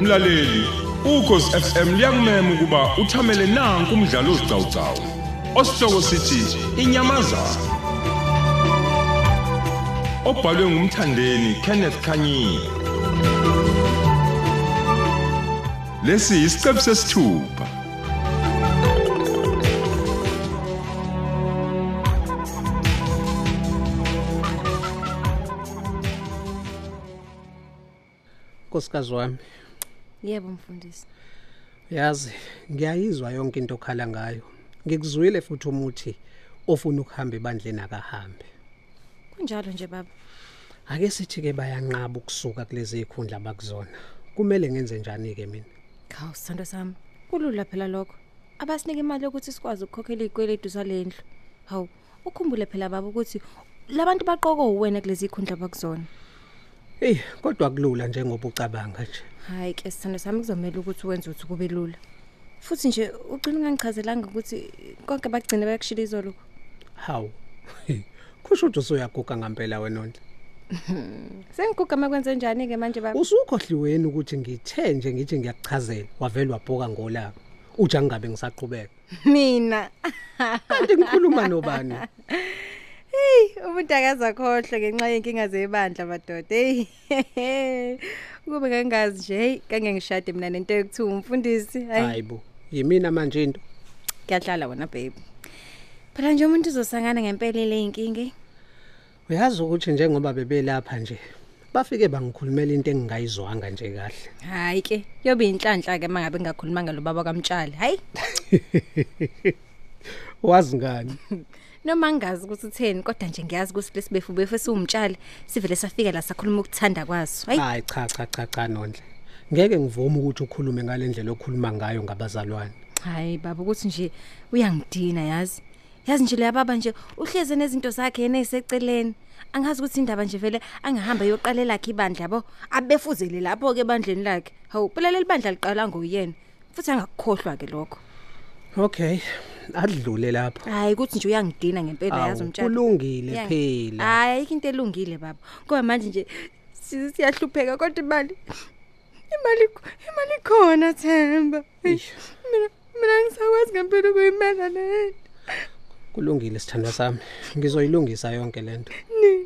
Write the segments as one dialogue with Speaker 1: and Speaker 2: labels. Speaker 1: mlaleli ukhosi FM liyakumema ukuba uthamele nanku umdlalo ozicawucawu osihloko sithi inyamazana obhalwe ngumthandeni Kenneth Khanyile lesi isiqephu sesithupha
Speaker 2: nkosikazi wami
Speaker 3: Yebo mfundisi.
Speaker 2: yazi ngiyayizwa yonke into okhala ngayo ngikuzwile futhi umuthi ofuna ukuhamba ebandleni akahambe
Speaker 3: Kunjalo nje baba.
Speaker 2: ake sithi ke bayanqaba ukusuka kulezi zikhundla abakuzona kumele ngenze njani ke mina
Speaker 3: Khawu sithando sami. Kulula phela lokho. Abasinike imali yokuthi sikwazi ukukhokhela izikweletu zalendlu. Hawu, ukhumbule phela baba ukuthi labantu baqoko uwena kulezi khundla bakuzona.
Speaker 2: eyi kodwa kulula njengoba ucabanga nje
Speaker 3: Hayi ke sithando sami kuzomela ukuthi wenze ukuthi kube lula. Futhi nje ugcina ungangichazelanga ukuthi konke bagcine bayakushila izolo.
Speaker 2: hawu kusho ukuthi usuyaguga ngampela wena onhle
Speaker 3: Sengigugama kwenze njani ke manje baba?
Speaker 2: usukhohliweni ukuthi ngithe nje ngithi ngiyakuchazela wavele wabhoka ngolaka uja ngingabe ngisaqhubeka
Speaker 3: Mina.
Speaker 2: kanti ngikhuluma nobani
Speaker 3: Umuntu akazakhohle ngenxa yenkinga zebandla madoda. Hey. Kube kangazi nje, hey, kange ngishade mina nento ekuthiwa umfundisi. Hayi,
Speaker 2: hayibo yimina manje into
Speaker 3: kuyadlala wona baby. Phela nje umuntu uzosangana ngempelele inkinge.
Speaker 2: uyazi ukuthi njengoba bebelapha nje bafike bangikhulumela into engingayizwanga nje kahle
Speaker 3: Hayi ke, yobe inhlanhla ke mangabe ngakhulumanga lo baba kaMtshali. Hayi,
Speaker 2: wazi ngani
Speaker 3: noma ngingazi ukuthi utheni, kodwa nje ngiyazi ukuthi lesibefu befu siwumtshali, sivele safika la sakhuluma ukuthanda kwaso. Hayi,
Speaker 2: hayi cha cha cha cha nonhle ngeke ngivume ukuthi ukhulume ngale ndlela okhuluma ngayo ngabazalwane
Speaker 3: hayi baba ukuthi nje uyangidina yazi yazi nje leya baba nje uhleze nezinto zakhe yena eseceleni angazi ukuthi indaba nje vele angahamba yoqale lakhe ibandla yabo abefuzele lapho ke bandleni lakhe hawu phelele libandla liqala ngoyena futhi angakukhohlwa ke lokho
Speaker 2: okay adlule lapho
Speaker 3: hayi ukuthi nje uyangidina ngempela
Speaker 2: Awu,
Speaker 3: yazi umtshana
Speaker 2: kulungile
Speaker 3: Uyangi-
Speaker 2: phela.
Speaker 3: hayi ayikho into elungile baba ngoba manje nje si- siyahlupheka kodwa imali imali imali khona Themba
Speaker 2: Eish.
Speaker 3: mina mina ngisakwazi ngempela ukuyimela le
Speaker 2: kulungile sithandwa sami ngizoyilungisa yonke lento
Speaker 3: nini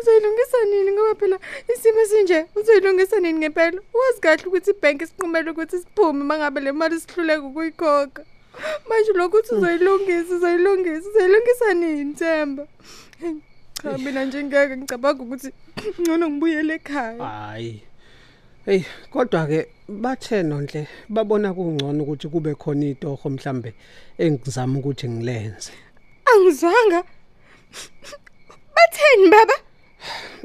Speaker 3: uzoyilungisa nini ngoba phela isimo esinje uzoyilungisa nini ngempela wazi kahle ukuthi ibhenki sinqumele ukuthi siphume mangabe le mali sihluleka ukuyikhokha manje lokhu uthi uzoyilungisa uzoyilungisa uzoyilungisa nini themba cha mina nje ngeke ngicabanga ukuthi ngcono ngibuyele ekhaya
Speaker 2: hayi eyi kodwa ke bathe nonhle babona kungcono ukuthi kube khona itoho mhlambe engizama ukuthi ngilenze
Speaker 3: angizwanga batheni baba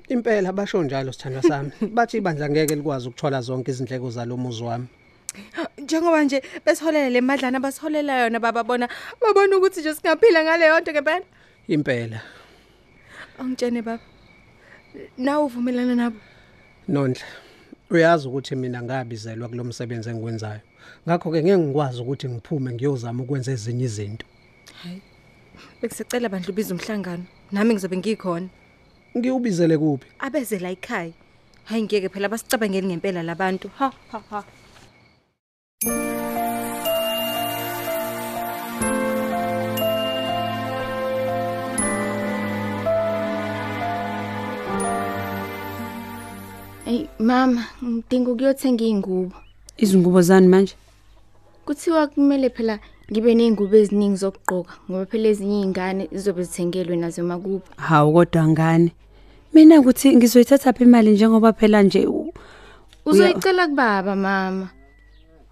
Speaker 2: impela basho njalo sithandwa sami bathi ibandla ngeke likwazi ukuthola zonke izindleko zalomuzi wami
Speaker 3: njengoba nje besiholela le madlana abasiholela yona baba bona babona ukuthi nje singaphila ngaleyo nto ngempela
Speaker 2: impela
Speaker 3: Ungitshene baba. Na uvumelana nabo?
Speaker 2: nonhle uyazi ukuthi mina ngabizelwa kulomsebenzi engikwenzayo ngakho ke ngeke ngikwazi ukuthi ngiphume ngiyozama ukwenza ezinye izinto
Speaker 3: Hayi. Bekusecela bandlu biza umhlangano. Nami ngizobe ngikhona.
Speaker 2: ngiwubizele kuphi
Speaker 3: Abeze la ekhaya. Hayi ngeke phela basicabangeli ngempela labantu. Ha ha ha.
Speaker 4: Ey mama, ngidinga ukuyothenga ingubo.
Speaker 5: Izingubo zani manje?
Speaker 4: Kuthiwa kumele phela ngibe nezingubo eziningi zokugqoka ngoba phela ezinye izingane zizobe zithengelwe nazo makubo.
Speaker 5: Hawu kodwa ngane. Mina kuthi ngizoyithatha phi imali njengoba phela nje u-
Speaker 4: Uzoyicela kubaba mama.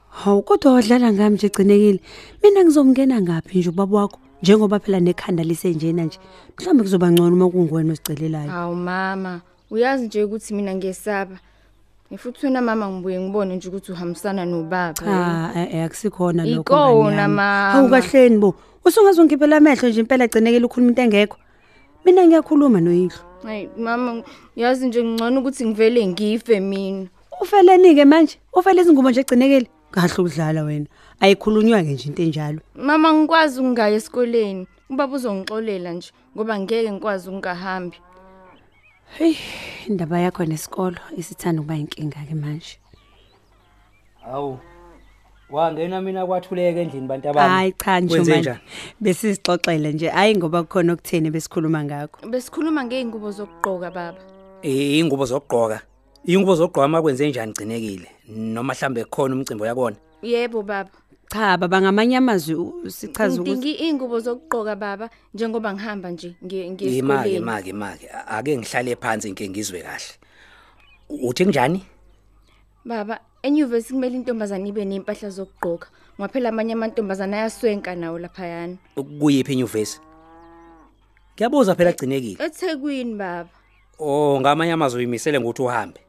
Speaker 5: hawu kodwa wadlala ngami nje gcinekile. Mina ngizomngena ngapi nje ubaba wakho njengoba phela nekhanda lisenjena nje. Mhlawumbe kuzoba ngcono uma kunguwena osicelelayo.
Speaker 4: Hawu mama, uyazi nje ukuthi mina ngiyesaba. Ngifuthi wena mama ngibuye ngibone nje ukuthi uhambisana nobaba.
Speaker 5: Cha eh, eh, akusikhona lokho.
Speaker 4: Ikona,
Speaker 5: ngane yami.
Speaker 4: mama.
Speaker 5: Hawu kahleni bo. Usungazongikhiphela amehlo nje impela gcinekile ukhuluma into engekho. Mina ngiyakhuluma noyihlo.
Speaker 4: Hayi mama, uyazi nje ngcono ukuthi ngivele ngife mina.
Speaker 5: Ufeleni ke manje? Ufele izingubo nje gcinekile. Kahle udlala wena. Ayikhulunywa ke nje into enjalo.
Speaker 4: Mama ngikwazi ukungaya esikoleni. Ubaba uzongixolela nje ngoba ngeke ngikwazi ukungahambi.
Speaker 5: Hey, indaba yakho nesikolo isithanda ukuba inkinga ke manje.
Speaker 6: hawu wangena mina kwathuleka endlini bantu abami
Speaker 5: hayi cha nje
Speaker 6: Wenze
Speaker 5: manje
Speaker 6: njani?
Speaker 5: besizixoxele nje hayi ngoba kukhona okutheni besikhuluma ngakho
Speaker 4: besikhuluma ngey'ngubo zokugqoka baba
Speaker 6: Eh, iy'ngubo zokugqoka iy'ngubo zokugqoka uma kwenze njani gcinekile noma mhlambe kukhona umcimbi yakona
Speaker 4: yebo baba
Speaker 5: cha baba ngamanye amazwi u- sichaza ukuthi
Speaker 4: ngidinga iy'ngubo zokugqoka baba njengoba ngihamba nje ngiye- ngiye
Speaker 6: yima-ke
Speaker 4: esikoleni
Speaker 6: ma-ke ma-ke ake ngihlale phansi ngike ngizwe kahle uthi kunjani
Speaker 4: baba enyuvesi kumele intombazane ibe ney'mpahla zokugqoka ngoba phela amanye amantombazane ayaswenka nawo laphayana
Speaker 6: kuyiphi inyuvesi ngiyabuza phela gcinekile
Speaker 4: ethekwini baba
Speaker 6: o ngamanye amazwi uyimisele ngokuthi uhambe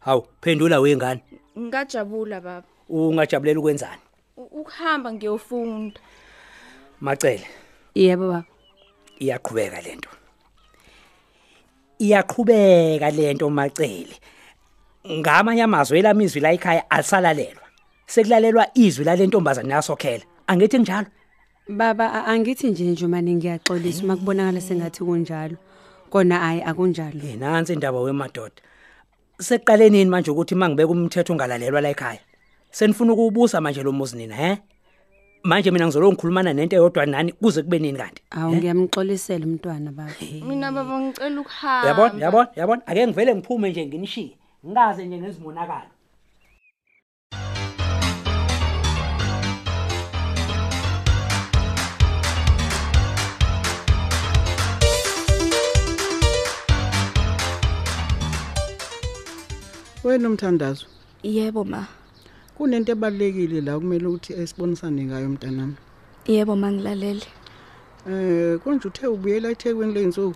Speaker 6: hawu phendula wengane
Speaker 4: ngingajabula baba
Speaker 6: ungajabulela ukwenzani
Speaker 4: U- ukuhamba ngiyofunda
Speaker 6: macele
Speaker 5: yebo baba
Speaker 6: iyaqhubeka lento iyaqhubeka lento macele ngamanye amazwi elami izwi la ekhaya alisalalelwa sekulalelwa izwi lalentombazane yasokhela angithi njalo
Speaker 5: baba a- angithi nje njomani ngiyaxolisa uma kubonakala sengathi kunjalo kona hayi akunjalo
Speaker 6: Eh, nansi indaba wemadoda sekuqale nini manje ukuthi mangibeka umthetho ongalalelwa la ekhaya senifuna ukuwubusa manje lo muzi nina he manje mina ngizolo ngikhulumana nento eyodwa nani kuze kube nini kanti
Speaker 5: awu ngiyamxolisela umntwana baba
Speaker 4: mina baba ngicela
Speaker 6: yabona
Speaker 4: ukuhamba
Speaker 6: yabona yabona ake ngivele ngiphume nje nginishiye ngikaze nje ngezimonakalo
Speaker 7: wena umthandazo
Speaker 8: yebo ma
Speaker 7: kunento ebalulekile la kumele ukuthi esibonisane ngayo mntanami
Speaker 8: yebo ma ngilalele
Speaker 7: um konje uthe ubuyela ethekwini ley'nsuku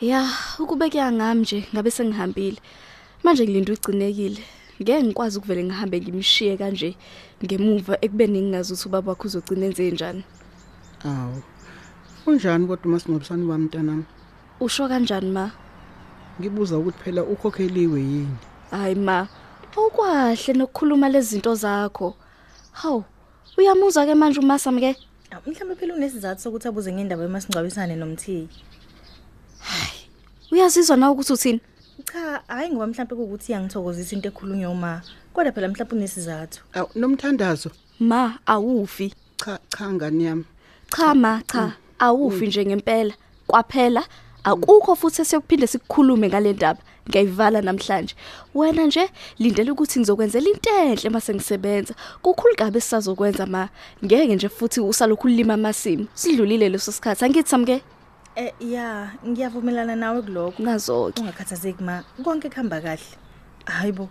Speaker 8: ya ukubekeka ngami nje ngabe sengihambile manje ngilinde ugcinekile ngeke ngikwazi ukuvele ngihambe ngimshiye kanje ngemuva ekubeni ngingazi ukuthi ubaba wakhe uzogcina enze njani
Speaker 7: awu kunjani kodwa umasingcwabisane wami mntanami
Speaker 8: usho kanjani ma
Speaker 7: ngibuza ukuthi phela ukhokheliwe yini
Speaker 8: hayi ma awukwahle nokukhuluma lezi zinto zakho hawu uyamuzwa-ke manje umasam-ke
Speaker 9: Awu, mhlawumbe phela unesizathu sokuthi abuze ngendaba yomasingcwabisane nomthiyi
Speaker 8: uyazizwa nawe ukuthi uthini
Speaker 9: cha hhayi ngoba mhlawumbe kuwukuthi iyangithokozisa into ekhulunywa uma kodwa phela mhlawumbe unesizathu
Speaker 7: awu nomthandazo
Speaker 8: ma awufi
Speaker 7: cha cha ngane yami
Speaker 8: cha ma cha awufi nje ngempela kwaphela akukho futhi esiyokuphinde sikukhulume ngale ndaba ngiyayivala namhlanje wena nje lindela ukuthi ngizokwenzela into enhle mase ngisebenza kukhulu kabi sisazokwenza ma ngeke nje futhi usalokhu ulima amasimu sidlulile leso sikhathi angithi samke
Speaker 9: um ya ngiyavumelana nawe kulokho
Speaker 8: ngazoke
Speaker 9: ungakhathazeki ma konke kuhamba kahle hhayi bo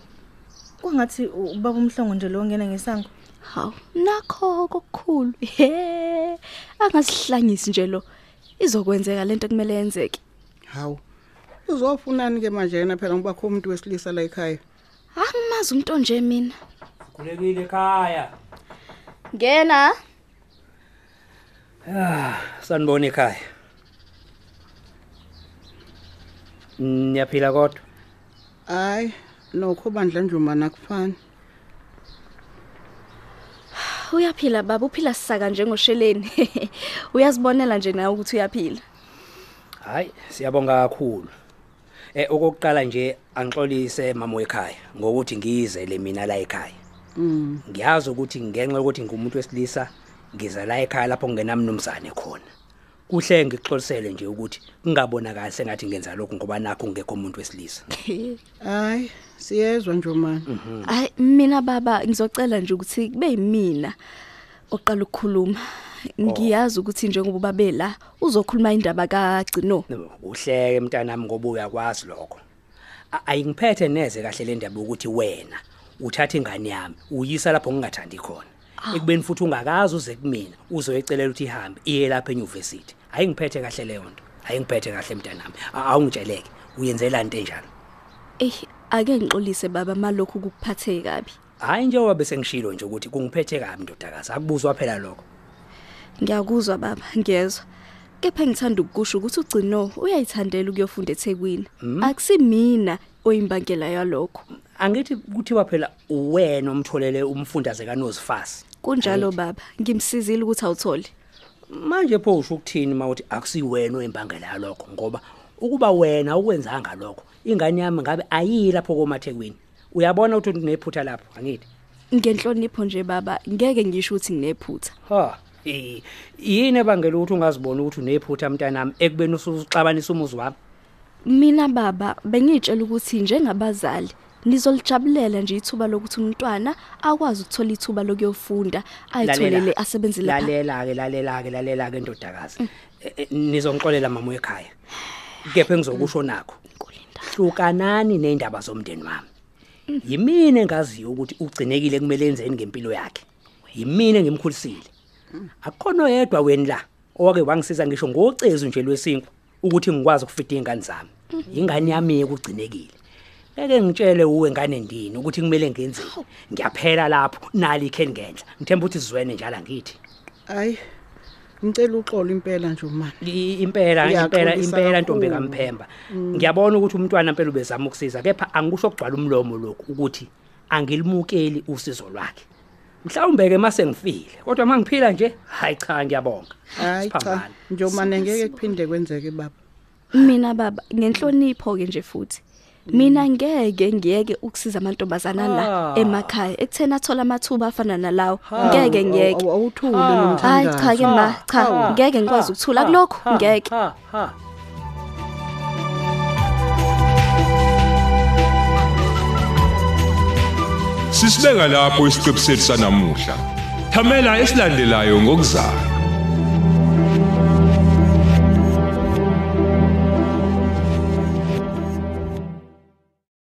Speaker 9: kwangathi u- ubaba umhlongo nje lo ongena ngesango
Speaker 8: hawu nakho kokukhulu he angasihlangisi nje lo izokwenzeka lento kumele yenzeke
Speaker 7: hawu uzofunani-ke manje yena phela ngibakho umuntu wesilisa la ekhaya
Speaker 8: angimazi umuntu onje mina
Speaker 6: khulekile ekhaya
Speaker 8: ngena
Speaker 6: sanibona ekhaya niyaphila kodwa
Speaker 7: hhayi nokho bandla njumani akufani
Speaker 8: uyaphila baba uphila sisaka njengosheleni uyazibonela nje nawe ukuthi uyaphila
Speaker 6: hayi siyabonga kakhulu um okokuqala nje angixolise mama wekhaya ngokuthi ngiyizele mina la ekhaya ngiyazi ukuthi ngenxa yokuthi ngumuntu wesilisa ngiza la ekhaya lapho kungenamnumzane khona kuhle ngikuxolisele nje ukuthi kungabonakali sengathi ngenza lokhu ngoba nakho ngekho umuntu wesilisa
Speaker 7: hhayi siyezwa njumani
Speaker 8: hayi mina baba ngizocela nje ukuthi kube yimina oqala ukukhuluma ngiyazi ukuthi njengoba ubabe la uzokhuluma indaba kagcino
Speaker 6: uhleke mntanami ngoba uyakwazi lokho A- ayingiphethe neze kahle le ndaba yokuthi wena uthatha ingane yami uyisa lapho ngingathandi khona ekubeni futhi ungakazi uze kumina uzoyicelela ukuthi ihambe iye lapha enyuvesithi ayingiphethe kahle leyo nto ayingiphethe kahle mntanami A- awungitsheleke uyenzela nto enjalo
Speaker 8: eyi ake ngixolise baba malokhu kukuphathe kabi
Speaker 6: hhayi njengoba besengishilo nje ukuthi kungiphethe kabi ndodakazi akubuzwa phela lokho
Speaker 8: ngiyakuzwa baba ngiyezwa kepha ngithanda ukukusho ukuthi ugcino uyayithandela ukuyofunda ethekwini akusimina oyimbangela yalokho
Speaker 6: angithi kuthiwa phela uwena omtholele umfundaze kanozifasi
Speaker 8: kunjalo baba ngimsizile ukuthi awuthole
Speaker 6: manje pho usho ukuthini uma uthi akusiwena oyimbangela yalokho ngoba ukuba wena ukwenzanga lokho ingane yami ngabe ayiyi lapho komathekwini uyabona ukuthi unephutha lapho angithi
Speaker 8: ngenhlonipho nje baba ngeke ngisho ukuthi nginephutha
Speaker 6: ha eh, yini ebangela ukuthi ungazibona ukuthi unephutha mntanami ekubeni usuxabanisa umuzi wami
Speaker 8: mina baba bengitshela ukuthi njengabazali nizolijabulela nje ithuba lokuthi umntwana akwazi ukuthola ithuba lokuyofunda ayitholele asebenzele pha-
Speaker 6: lalela-ke lalela-ke lalela-ke ndodakazi Eh, eh, nizongixolela mama wekhaya kepha engizokusho nakho hlukanani ney'ndaba zomndeni wami yimina engaziyo ukuthi ugcinekile kumele enzeni ngempilo yakhe yimina engimkhulisile akukhona yedwa wena la owake wangisiza ngisho ngocezu nje lwesinkwa ukuthi ngikwazi ukufida iy'ngane zami ingane yami-ke ugcinekile ngeke ngitshele uwe ngane ndini ukuthi kumele ngenzeni ngiyaphela lapho nali ikhe ngenhla ngithemba ukuthi sizwene njalo angithi
Speaker 7: hayi ngicela uxolo impela nje umani
Speaker 6: I- impela impela
Speaker 7: Ngiyaxolisa
Speaker 6: impela ntombi
Speaker 7: kakhulu.
Speaker 6: kamphemba ngiyabona ukuthi umntwana impela ubezama ukusiza kepha angikusho ukugcwala umlomo lokhu ukuthi angilimukeli usizo lwakhe mhlawumbe ke mase ngifile kodwa mangiphila nje hayi cha ngiyabonga
Speaker 7: hayi cha
Speaker 6: Siphambane.
Speaker 7: njomane ngeke kuphinde kwenzeke baba
Speaker 8: mina baba ngenhlonipho ke nje futhi mina ngeke ngiyeke ukusiza amantombazana la
Speaker 6: Ah.
Speaker 8: emakhaya ekutheni athola amathuba afana nalawo ngeke ngiyeke
Speaker 7: Awu- awuthule
Speaker 6: Ah.
Speaker 8: hayi cha ke ma cha
Speaker 7: Ah,
Speaker 6: Ha,
Speaker 8: ngeke ngikwazi
Speaker 6: ha,
Speaker 8: ukuthula
Speaker 6: ha,
Speaker 8: kulokho
Speaker 6: ha,
Speaker 8: ngeke
Speaker 6: ha, ha.
Speaker 1: Sisibeka lapho isiqebu sethu sanamuhla. Thamela esilandelayo ngokuzayo.